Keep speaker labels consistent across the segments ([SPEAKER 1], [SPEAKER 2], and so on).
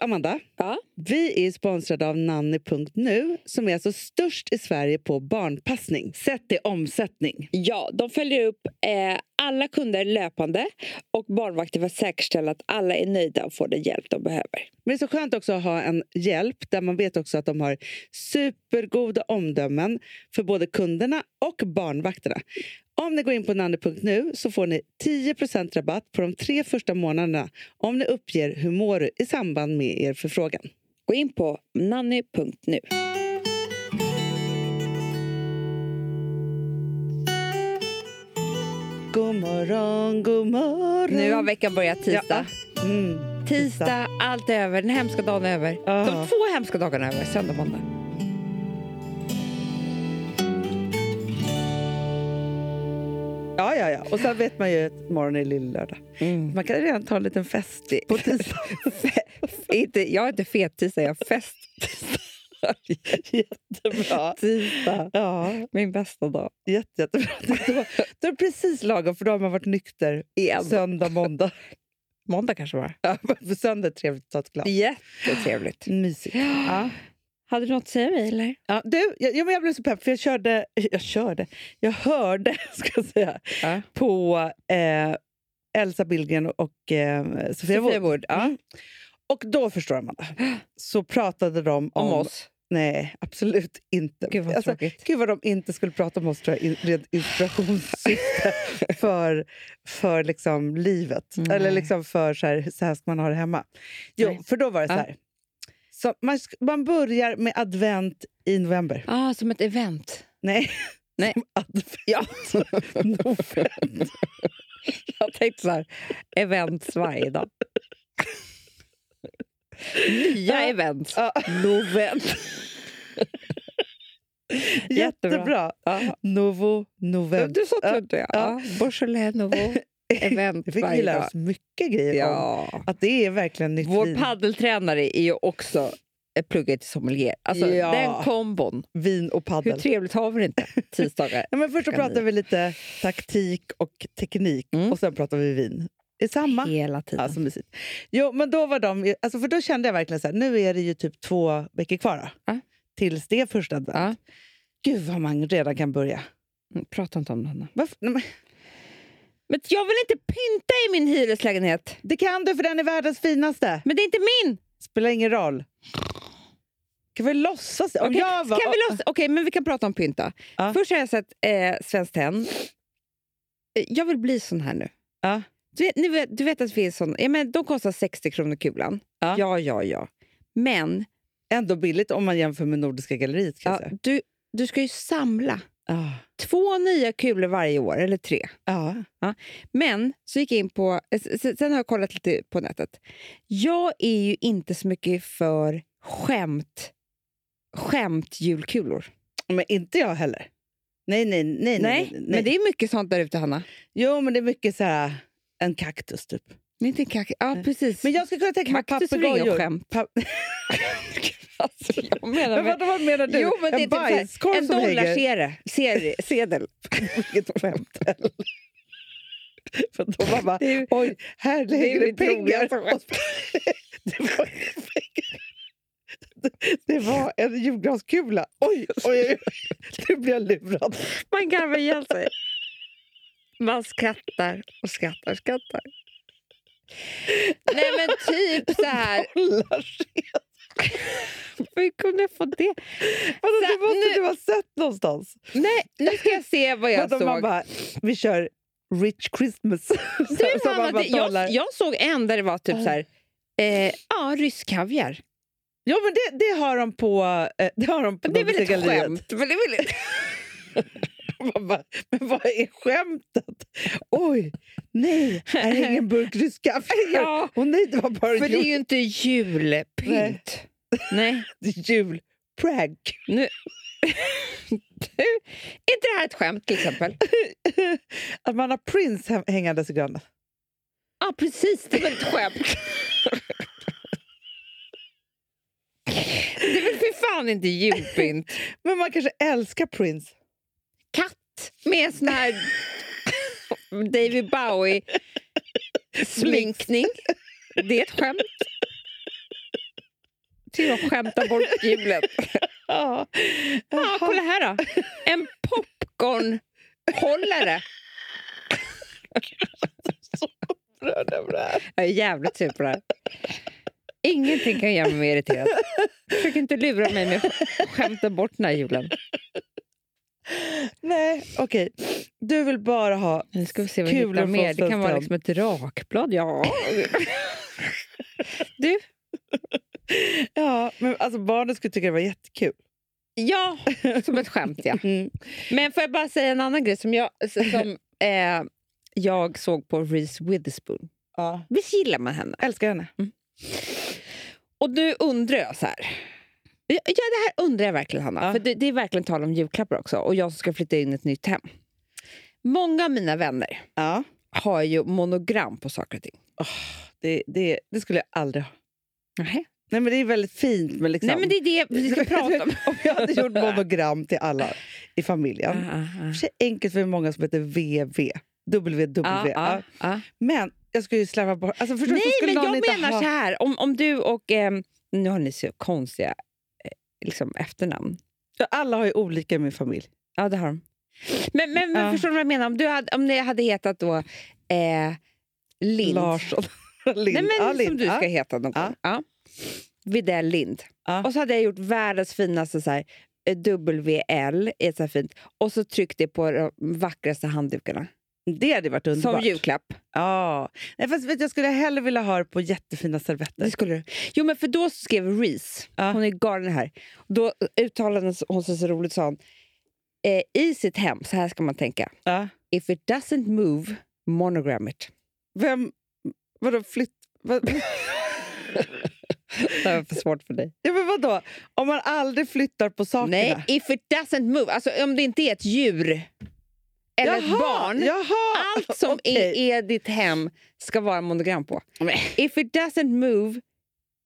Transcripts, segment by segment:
[SPEAKER 1] Amanda,
[SPEAKER 2] Ja.
[SPEAKER 1] vi är sponsrade av nanny.nu som är alltså störst i Sverige på barnpassning sett i omsättning.
[SPEAKER 2] Ja, de följer upp eh, alla kunder löpande och barnvakter för att säkerställa att alla är nöjda och får den hjälp de behöver.
[SPEAKER 1] Men det är så skönt också att ha en hjälp där man vet också att de har supergoda omdömen för både kunderna och barnvakterna. Om ni går in på nanny.nu så får ni 10 rabatt på de tre första månaderna om ni uppger hur mår du i samband med er förfrågan.
[SPEAKER 2] Gå in på nanny.nu.
[SPEAKER 1] God morgon, god morgon.
[SPEAKER 2] Nu har veckan börjat tisdag.
[SPEAKER 1] Mm.
[SPEAKER 2] Tisdag, allt är över. Den hemska dagen är över.
[SPEAKER 1] Ja.
[SPEAKER 2] De två hemska dagarna är över. Söndag, måndag.
[SPEAKER 1] Ja, ja, ja. Och sen vet man ju att morgon är lillördag.
[SPEAKER 2] Mm.
[SPEAKER 1] Man kan redan ta en liten fest i- på tisdag.
[SPEAKER 2] inte, jag är inte fet tisdag, jag har fest
[SPEAKER 1] Jättebra.
[SPEAKER 2] tisdag.
[SPEAKER 1] Ja,
[SPEAKER 2] Min bästa dag.
[SPEAKER 1] jätte, jättebra. Då, då är det precis lagom, för då har man varit nykter
[SPEAKER 2] Igen.
[SPEAKER 1] söndag, måndag.
[SPEAKER 2] Måndag kanske bara.
[SPEAKER 1] Ja, för söndag är trevligt att ta ett glas.
[SPEAKER 2] Jättetrevligt.
[SPEAKER 1] Mysigt. Ja.
[SPEAKER 2] Hade du något att säga mig eller?
[SPEAKER 1] Ja, du, jag, ja, men jag blev så pepp, för jag körde... Jag körde? Jag hörde, ska jag säga,
[SPEAKER 2] Ja.
[SPEAKER 1] på eh, Elsa Billgren och eh, Sofia Wood.
[SPEAKER 2] Wood. Ja.
[SPEAKER 1] Mm. Och då förstår man. Så pratade de om...
[SPEAKER 2] Om oss.
[SPEAKER 1] Nej, absolut inte.
[SPEAKER 2] Gud vad
[SPEAKER 1] Alltså,
[SPEAKER 2] tråkigt.
[SPEAKER 1] Gud vad de inte skulle prata om oss tror jag, i rent inspirationssyfte för, för liksom livet.
[SPEAKER 2] Nej.
[SPEAKER 1] Eller liksom för så här, så här ska man ha det hemma. Jo,
[SPEAKER 2] Nej.
[SPEAKER 1] för då var det så
[SPEAKER 2] Ja.
[SPEAKER 1] här. Så man, sk- man börjar med advent i november.
[SPEAKER 2] Ah, som ett event.
[SPEAKER 1] Nej.
[SPEAKER 2] Nej.
[SPEAKER 1] Som advent. Ja. november.
[SPEAKER 2] Jag tänkte så här, events varje dag. Nya
[SPEAKER 1] Ja.
[SPEAKER 2] events.
[SPEAKER 1] Ja,
[SPEAKER 2] Novent. Jättebra.
[SPEAKER 1] jättebra. Novo november.
[SPEAKER 2] Du sa trodde jag.
[SPEAKER 1] Ja.
[SPEAKER 2] Ja. Borselais nouveau event
[SPEAKER 1] Vi fick
[SPEAKER 2] varje
[SPEAKER 1] ju
[SPEAKER 2] dag.
[SPEAKER 1] lära oss mycket grejer om
[SPEAKER 2] Ja.
[SPEAKER 1] att det är verkligen nytt
[SPEAKER 2] Vår
[SPEAKER 1] vin.
[SPEAKER 2] paddeltränare är ju också ett pluggat till sommelier. Alltså,
[SPEAKER 1] Ja.
[SPEAKER 2] Den kombon.
[SPEAKER 1] vin och
[SPEAKER 2] Hur
[SPEAKER 1] paddel.
[SPEAKER 2] trevligt har vi det inte? Tisdagar.
[SPEAKER 1] Ja, men först så
[SPEAKER 2] Klockan
[SPEAKER 1] pratar vi lite taktik och teknik
[SPEAKER 2] Mm.
[SPEAKER 1] och sen pratar vi vin. Det är samma.
[SPEAKER 2] Hela tiden.
[SPEAKER 1] Alltså, mysigt. Jo, men då var de ju, alltså, för då kände jag verkligen så här, nu är det ju typ två veckor kvar då,
[SPEAKER 2] Ja.
[SPEAKER 1] tills det är första advent.
[SPEAKER 2] Ja.
[SPEAKER 1] Gud vad man redan kan börja.
[SPEAKER 2] Mm, Prata inte om det, Hanna.
[SPEAKER 1] Varför? Nej, men,
[SPEAKER 2] Men jag vill inte pynta i min hyreslägenhet.
[SPEAKER 1] det kan du för den är världens finaste.
[SPEAKER 2] Men det är inte min!
[SPEAKER 1] Spelar ingen roll. Kan vi låtsas? Om
[SPEAKER 2] Okej,
[SPEAKER 1] jag var,
[SPEAKER 2] Kan vi låtsas- Okej, men vi kan prata om pynta.
[SPEAKER 1] Ja.
[SPEAKER 2] Först har jag sett eh, Svenskt Tenn. Eh, Jag vill bli sån här nu.
[SPEAKER 1] Ja.
[SPEAKER 2] Du, vet- ni vet, du vet att det finns sån... Ja, men de kostar 60 kronor kulan.
[SPEAKER 1] Ja.
[SPEAKER 2] ja, ja. ja. Men
[SPEAKER 1] Ändå billigt om man jämför med Nordiska galleriet. Kan jag
[SPEAKER 2] ja,
[SPEAKER 1] säga.
[SPEAKER 2] du, du ska ju samla
[SPEAKER 1] Ja.
[SPEAKER 2] två nya kulor varje år, eller tre.
[SPEAKER 1] Ja.
[SPEAKER 2] Men så gick jag in på... s- s- Sen har jag kollat lite på nätet. Jag är ju inte så mycket för skämt, skämt julkulor.
[SPEAKER 1] Men inte jag heller. Nej, nej, nej. nej,
[SPEAKER 2] Nej,
[SPEAKER 1] nej, nej.
[SPEAKER 2] men det är mycket sånt där ute, Hanna.
[SPEAKER 1] Jo, men det är mycket så här, en kaktus typ.
[SPEAKER 2] Det är inte en kak- ja,
[SPEAKER 1] Nej.
[SPEAKER 2] precis.
[SPEAKER 1] Men jag skulle kunna tänka mig
[SPEAKER 2] Kaktus är väl inget
[SPEAKER 1] papegojor.
[SPEAKER 2] skämt?
[SPEAKER 1] Pa-
[SPEAKER 2] alltså, jag menar
[SPEAKER 1] Men
[SPEAKER 2] med-
[SPEAKER 1] vad, vad menar du?
[SPEAKER 2] Jo, men det är
[SPEAKER 1] en
[SPEAKER 2] typ så här,
[SPEAKER 1] bajskorv
[SPEAKER 2] en
[SPEAKER 1] som hänger?
[SPEAKER 2] dollarsedel. Sedel. sedel.
[SPEAKER 1] Vilket skämt. För då var man
[SPEAKER 2] Det är ju-
[SPEAKER 1] oj, här
[SPEAKER 2] är
[SPEAKER 1] ligger
[SPEAKER 2] ju
[SPEAKER 1] det
[SPEAKER 2] mitt
[SPEAKER 1] pengar.
[SPEAKER 2] roligaste skämt.
[SPEAKER 1] det, var, det var en julgranskula. Oj, oj, oj. Nu blir jag lurad.
[SPEAKER 2] Man garvar ihjäl sig. Man skrattar och skrattar och skrattar. Nej, men typ så här.
[SPEAKER 1] Dollarsedel.
[SPEAKER 2] Hur kunde jag få det?
[SPEAKER 1] Vadå,
[SPEAKER 2] Så
[SPEAKER 1] Det måste
[SPEAKER 2] nu-
[SPEAKER 1] du ha sett någonstans.
[SPEAKER 2] Nej, nu ska jag se vad jag
[SPEAKER 1] Vadå, man
[SPEAKER 2] såg.
[SPEAKER 1] bara, vi kör Rich Christmas. Så-
[SPEAKER 2] Du,
[SPEAKER 1] så man
[SPEAKER 2] Hanna,
[SPEAKER 1] bara
[SPEAKER 2] det- jag,
[SPEAKER 1] talar.
[SPEAKER 2] jag såg en där det var typ så här... Eh, ja, rysk kaviar.
[SPEAKER 1] Ja, men det, det har de på... eh, Det, har de på
[SPEAKER 2] Men det är väl ett
[SPEAKER 1] Nordiska galleriet.
[SPEAKER 2] skämt? Men det är väl...
[SPEAKER 1] Man bara, men vad är skämtet? Oj, nej, här hänger en burk rysk kaffe.
[SPEAKER 2] Ja.
[SPEAKER 1] Och nej, det var bara
[SPEAKER 2] För det är ju inte julpynt. Nej.
[SPEAKER 1] jul. Prank.
[SPEAKER 2] Du, är inte det här ett skämt till exempel?
[SPEAKER 1] Att man har Prince hä- hängandes i grannen.
[SPEAKER 2] Ja, ah, precis. Det är väl ett skämt? Det är väl för fan inte julpynt?
[SPEAKER 1] Men man kanske älskar Prince.
[SPEAKER 2] Katt med sån här David Bowie-sminkning. Det är ett skämt. älskar ju att skämta bort julen.
[SPEAKER 1] Ja.
[SPEAKER 2] Ja, kolla här då. En popcornhållare.
[SPEAKER 1] upprörd över det här.
[SPEAKER 2] Jag är jävligt sur på det här. Ingenting kan göra mig mer irriterad. Försök inte lura mig med att skämta bort den här julen.
[SPEAKER 1] Nej, okej. Du vill bara ha...
[SPEAKER 2] Nu ska vi se vad vi
[SPEAKER 1] Kulor
[SPEAKER 2] hittar mer.
[SPEAKER 1] från
[SPEAKER 2] Det kan vara
[SPEAKER 1] Strömstrand.
[SPEAKER 2] liksom ett rakblad. Ja. Du,
[SPEAKER 1] Ja, men alltså barnen skulle tycka det var jättekul.
[SPEAKER 2] ja, som ett skämt ja. Men får jag bara säga en annan grej som jag, som, eh, jag såg på Reese Witherspoon.
[SPEAKER 1] Ja.
[SPEAKER 2] Visst gillar man henne?
[SPEAKER 1] Älskar henne.
[SPEAKER 2] Och nu undrar jag så här. Ja, ja, det här undrar jag verkligen, Hanna.
[SPEAKER 1] Ja.
[SPEAKER 2] För det, det är verkligen tal om julklappar också. Och jag som ska flytta in i ett nytt hem. Många av mina vänner
[SPEAKER 1] Ja.
[SPEAKER 2] har ju monogram på saker och ting.
[SPEAKER 1] Det, det, det skulle jag aldrig ha.
[SPEAKER 2] Nej,
[SPEAKER 1] Nej, men det är väldigt fint. Men liksom,
[SPEAKER 2] Nej men det är det vi ska prata om.
[SPEAKER 1] om jag hade gjort monogram till alla i familjen.
[SPEAKER 2] Ah, ah, ah.
[SPEAKER 1] Det är enkelt för många som heter VV. WW.
[SPEAKER 2] Ah, ah, ah.
[SPEAKER 1] Men jag skulle ju slarva bort... Alltså, förstår, du,
[SPEAKER 2] Nej
[SPEAKER 1] så skulle någon
[SPEAKER 2] men jag
[SPEAKER 1] inte
[SPEAKER 2] menar
[SPEAKER 1] ha...
[SPEAKER 2] så här. Om, om du och... ehm, nu har ni så konstiga eh, liksom, efternamn.
[SPEAKER 1] För Alla har ju olika i min familj.
[SPEAKER 2] Ja, det har de. Men, men, men
[SPEAKER 1] Ja.
[SPEAKER 2] förstår du vad jag menar? Om, du hade, om ni hade hetat då eh, Lind.
[SPEAKER 1] Larsson. Lind.
[SPEAKER 2] Nej, men
[SPEAKER 1] Ja, Lind.
[SPEAKER 2] Som du ska
[SPEAKER 1] Ja.
[SPEAKER 2] heta någon
[SPEAKER 1] Ja.
[SPEAKER 2] gång. Ja. Widell Lind.
[SPEAKER 1] Ja.
[SPEAKER 2] Och så hade jag gjort världens finaste så här, eh, WL, är så här fint. och så tryckt det på de vackraste handdukarna.
[SPEAKER 1] Det hade varit underbart.
[SPEAKER 2] Som julklapp.
[SPEAKER 1] Ja. Nej, fast vet, du, jag skulle hellre vilja ha det på jättefina servetter.
[SPEAKER 2] Det skulle du. Jo, men för då skrev Reese,
[SPEAKER 1] Ja.
[SPEAKER 2] hon är galen här, då uttalade hon sig så roligt, sa hon, eh, i sitt hem, så här ska man tänka,
[SPEAKER 1] Ja.
[SPEAKER 2] if it doesn't move, monogram it.
[SPEAKER 1] Vem... Vadå, flytt... Vad,
[SPEAKER 2] Det var för svårt för dig.
[SPEAKER 1] ja, men vadå? Om man aldrig flyttar på sakerna?
[SPEAKER 2] Nej, if it doesn't move. Alltså om det inte är ett djur eller ett
[SPEAKER 1] Jaha,
[SPEAKER 2] barn.
[SPEAKER 1] Jaha!
[SPEAKER 2] Allt som
[SPEAKER 1] Okej.
[SPEAKER 2] är, är ditt hem ska vara monogram på.
[SPEAKER 1] Men- äh,
[SPEAKER 2] If it doesn't move...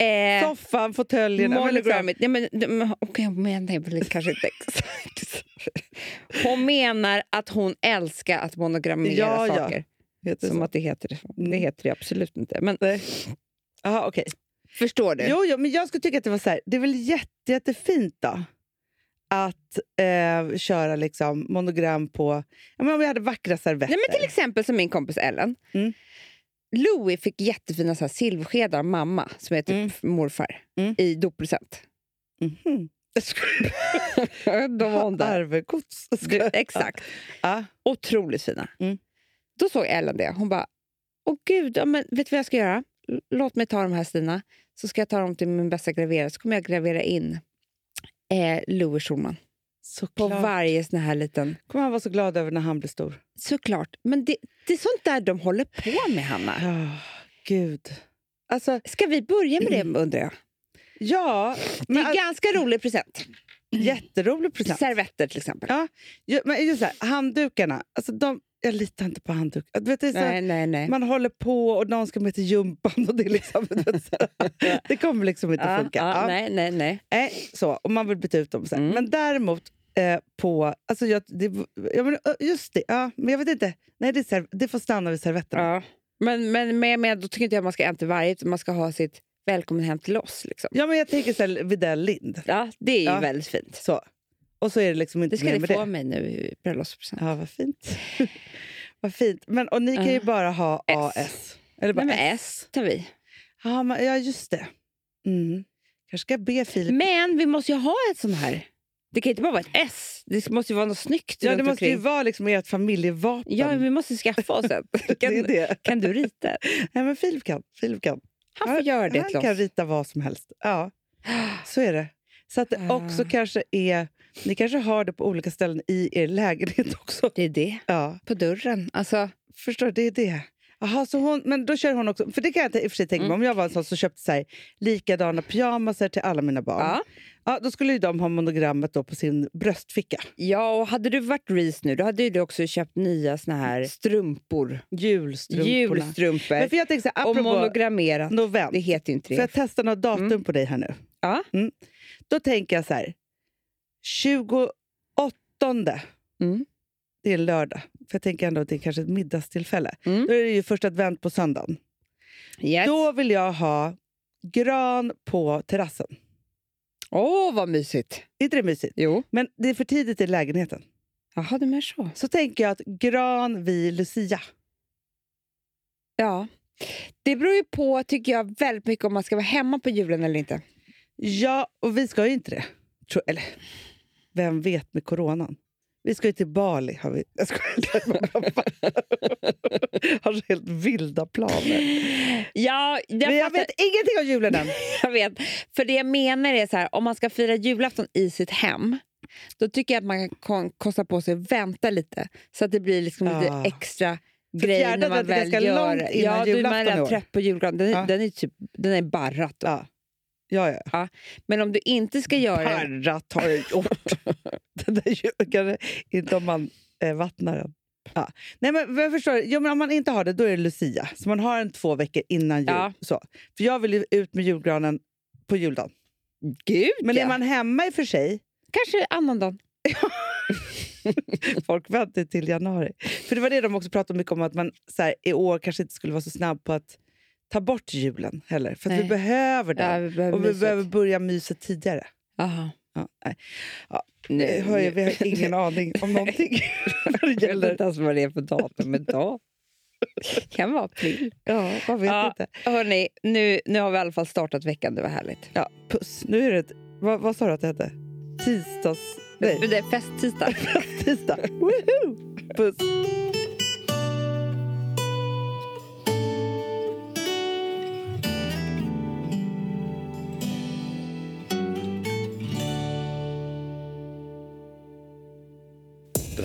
[SPEAKER 2] Eh,
[SPEAKER 1] Soffan, fåtöljerna... men
[SPEAKER 2] monogram it. Nej, men, de- men, okej, hon menar väl kanske inte exakt. Hon menar att hon älskar att monogramera
[SPEAKER 1] Ja, ja.
[SPEAKER 2] saker.
[SPEAKER 1] Heter det
[SPEAKER 2] Som
[SPEAKER 1] så?
[SPEAKER 2] att det heter det. så. Det
[SPEAKER 1] Mm.
[SPEAKER 2] heter det absolut inte. Men
[SPEAKER 1] Nej. Jaha, okej.
[SPEAKER 2] förstår du?
[SPEAKER 1] Jo, jo, men jag skulle tycka att det var så här, det är väl jätte, jättefint då att eh, köra liksom monogram på... Ja, men om jag hade vackra servetter.
[SPEAKER 2] Nej, men till exempel som min kompis Ellen.
[SPEAKER 1] Mm.
[SPEAKER 2] Louis fick jättefina så här, silverskedar av mamma, som är typ
[SPEAKER 1] Mm.
[SPEAKER 2] morfar,
[SPEAKER 1] Mm.
[SPEAKER 2] i doppresent.
[SPEAKER 1] Mhm.
[SPEAKER 2] Då var hon där.
[SPEAKER 1] Arvegods.
[SPEAKER 2] Du, exakt.
[SPEAKER 1] Ja.
[SPEAKER 2] Otroligt fina.
[SPEAKER 1] Mm.
[SPEAKER 2] Då såg Ellen det. Hon bara, åh gud, ja, men vet du vad jag ska göra? L- Låt mig ta de här Stina, så ska jag ta dem till min bästa graverare, så kommer jag gravera in eh, Louis Schulman på
[SPEAKER 1] Såklart.
[SPEAKER 2] varje sån här liten...
[SPEAKER 1] kommer han vara så glad över när han blir stor.
[SPEAKER 2] Såklart, men det, det är sånt där de håller på med, Hanna.
[SPEAKER 1] Ja, gud. Alltså,
[SPEAKER 2] Ska vi börja med det, undrar jag?
[SPEAKER 1] ja,
[SPEAKER 2] Det
[SPEAKER 1] Mm. men, alltså,
[SPEAKER 2] är ganska rolig present.
[SPEAKER 1] jätterolig present.
[SPEAKER 2] Servetter till exempel.
[SPEAKER 1] Ja, Ja, men just så här, handdukarna. Alltså, de, jag litar inte på handdukar. Du Vet, det är så här,
[SPEAKER 2] Nej, nej, nej.
[SPEAKER 1] alltså- Man håller på och någon ska med till gympan. Och det, är liksom, du vet, så här, det kommer liksom inte
[SPEAKER 2] Ja,
[SPEAKER 1] funka.
[SPEAKER 2] ja,
[SPEAKER 1] Ja.
[SPEAKER 2] nej, nej, nej.
[SPEAKER 1] Nej, så, och man vill byta ut dem. Så här.
[SPEAKER 2] Mm.
[SPEAKER 1] Men däremot eh, på... Alltså jag, det, jag men, ö, just det, ja, men jag vet inte. Nej, det, är serv- det får stanna vid servetterna. Ja.
[SPEAKER 2] Ja. Men, men med, med, då tycker inte jag man ska en till varje, utan man ska ha sitt välkommen hem till oss. Liksom.
[SPEAKER 1] men jag tänker så här, Widell Lind.
[SPEAKER 2] Ja, det är ju
[SPEAKER 1] Ja.
[SPEAKER 2] väldigt fint.
[SPEAKER 1] Så. Och så är det liksom inte
[SPEAKER 2] Det ska
[SPEAKER 1] mer
[SPEAKER 2] ni
[SPEAKER 1] med
[SPEAKER 2] få av
[SPEAKER 1] det.
[SPEAKER 2] mig nu i bröllopspresent.
[SPEAKER 1] Ja, vad fint. vad fint. Men, och ni kan ju
[SPEAKER 2] Ja.
[SPEAKER 1] bara ha
[SPEAKER 2] S.
[SPEAKER 1] AS. Eller bara
[SPEAKER 2] Nej, men
[SPEAKER 1] S.
[SPEAKER 2] S tar vi.
[SPEAKER 1] Ja, men, ja, just det. Mm. Kanske ska jag be Filip.
[SPEAKER 2] Men vi måste ju ha ett sånt här. Det kan ju inte bara vara ett S. Det måste ju vara något snyggt
[SPEAKER 1] Ja,
[SPEAKER 2] runt
[SPEAKER 1] det måste ju
[SPEAKER 2] omkring.
[SPEAKER 1] vara liksom ert familjevapen.
[SPEAKER 2] Ja, vi måste skaffa oss ett.
[SPEAKER 1] det är
[SPEAKER 2] Kan,
[SPEAKER 1] det.
[SPEAKER 2] kan du rita? ett?
[SPEAKER 1] Nej, men Filip kan. Filip kan.
[SPEAKER 2] Han får göra det
[SPEAKER 1] Han
[SPEAKER 2] till
[SPEAKER 1] kan
[SPEAKER 2] oss.
[SPEAKER 1] rita vad som helst. Ja, så är det. Så att det
[SPEAKER 2] Ah.
[SPEAKER 1] också kanske är... Ni kanske har det på olika ställen i er lägenhet också.
[SPEAKER 2] Det är det.
[SPEAKER 1] Ja,
[SPEAKER 2] På dörren. Alltså,
[SPEAKER 1] förstår du? Det är det. Aha, så hon, men då kör hon också... För det kan jag ta- i och för sig tänka mig. Om jag var en sån som köpte så här, likadana pyjamaser till alla mina barn. Ja.
[SPEAKER 2] ja.
[SPEAKER 1] då skulle ju de ha monogrammet då på sin bröstficka.
[SPEAKER 2] Ja, och hade du varit Reese nu, då hade ju du också köpt nya såna här strumpor.
[SPEAKER 1] Julstrumporna. Men
[SPEAKER 2] Julstrumpor.
[SPEAKER 1] för jag tänker så här,
[SPEAKER 2] Och
[SPEAKER 1] apropå
[SPEAKER 2] monogramerat.
[SPEAKER 1] november.
[SPEAKER 2] Det heter ju inte
[SPEAKER 1] Får
[SPEAKER 2] det.
[SPEAKER 1] jag testa något datum
[SPEAKER 2] Mm.
[SPEAKER 1] på dig här nu?
[SPEAKER 2] Ja.
[SPEAKER 1] Mm. Då tänker jag så här. 28.
[SPEAKER 2] Mm.
[SPEAKER 1] Det är lördag. För jag tänker ändå att det är kanske ett middagstillfälle.
[SPEAKER 2] Mm.
[SPEAKER 1] Då är det ju första advent på söndagen.
[SPEAKER 2] Yes.
[SPEAKER 1] Då vill jag ha gran på terrassen.
[SPEAKER 2] Åh, vad mysigt!
[SPEAKER 1] Är inte det mysigt?
[SPEAKER 2] Jo.
[SPEAKER 1] Men det är för tidigt i lägenheten.
[SPEAKER 2] Jaha, du menar så.
[SPEAKER 1] Så tänker jag att gran vid Lucia.
[SPEAKER 2] Ja. Det beror ju på, tycker jag, väldigt mycket om man ska vara hemma på julen eller inte.
[SPEAKER 1] Ja, och vi ska ju inte det. Tro, eller, vem vet med coronan? Vi ska ju till Bali. Har vi. Jag skojar. har så helt vilda planer.
[SPEAKER 2] Ja, jag,
[SPEAKER 1] Men jag vet ingenting om julen än.
[SPEAKER 2] jag vet. För det jag menar är så här, om man ska fira julafton i sitt hem, då tycker jag att man kan kon- kosta på sig att vänta lite. Så att det blir liksom
[SPEAKER 1] Ja.
[SPEAKER 2] lite extra
[SPEAKER 1] För
[SPEAKER 2] grejer
[SPEAKER 1] fjärde
[SPEAKER 2] när man
[SPEAKER 1] advent är
[SPEAKER 2] väl
[SPEAKER 1] ganska
[SPEAKER 2] gör
[SPEAKER 1] långt
[SPEAKER 2] det.
[SPEAKER 1] innan
[SPEAKER 2] Ja, då är man
[SPEAKER 1] julafton i år.
[SPEAKER 2] redan trött på julgranen. Den,
[SPEAKER 1] Ja.
[SPEAKER 2] den är typ, den är barrat. då.
[SPEAKER 1] Ja. Ja, ja.
[SPEAKER 2] Men om du inte ska göra det...
[SPEAKER 1] Parrat har jag gjort. det där ljuger inte om man eh, vattnar den. Ja. Nej, men, jag förstår, jo, men om man inte har det, då är det Lucia. Så man har en två veckor innan jul.
[SPEAKER 2] Ja.
[SPEAKER 1] Så. För jag vill ju ut med julgranen på juldagen.
[SPEAKER 2] Gud,
[SPEAKER 1] Men
[SPEAKER 2] ja.
[SPEAKER 1] är man hemma i och för sig,
[SPEAKER 2] Kanske annandagen.
[SPEAKER 1] folk väntar ju till januari. För det var det de också pratade mycket om, att man så här, i år kanske inte skulle vara så snabb på att ta bort julen heller. För att vi
[SPEAKER 2] Nej.
[SPEAKER 1] behöver den.
[SPEAKER 2] vi behöver
[SPEAKER 1] och vi
[SPEAKER 2] myset.
[SPEAKER 1] behöver börja myset tidigare.
[SPEAKER 2] Aha.
[SPEAKER 1] Ja, nej.
[SPEAKER 2] Nu,
[SPEAKER 1] Hör jag, vi har
[SPEAKER 2] nu-
[SPEAKER 1] ingen aning om någonting. vad det
[SPEAKER 2] Jag vet
[SPEAKER 1] gäller.
[SPEAKER 2] inte ens vad det är för datum idag. kan vara april.
[SPEAKER 1] Ja, man vet
[SPEAKER 2] Ja.
[SPEAKER 1] inte.
[SPEAKER 2] Hörni, nu, nu har vi i alla fall startat veckan. Det var härligt.
[SPEAKER 1] Ja, puss. Nu är det ett, vad, vad sa du att det hette? Tisdags... Nej,
[SPEAKER 2] Det är festtisdag.
[SPEAKER 1] tisdag. Woohoo! Puss.
[SPEAKER 3] Den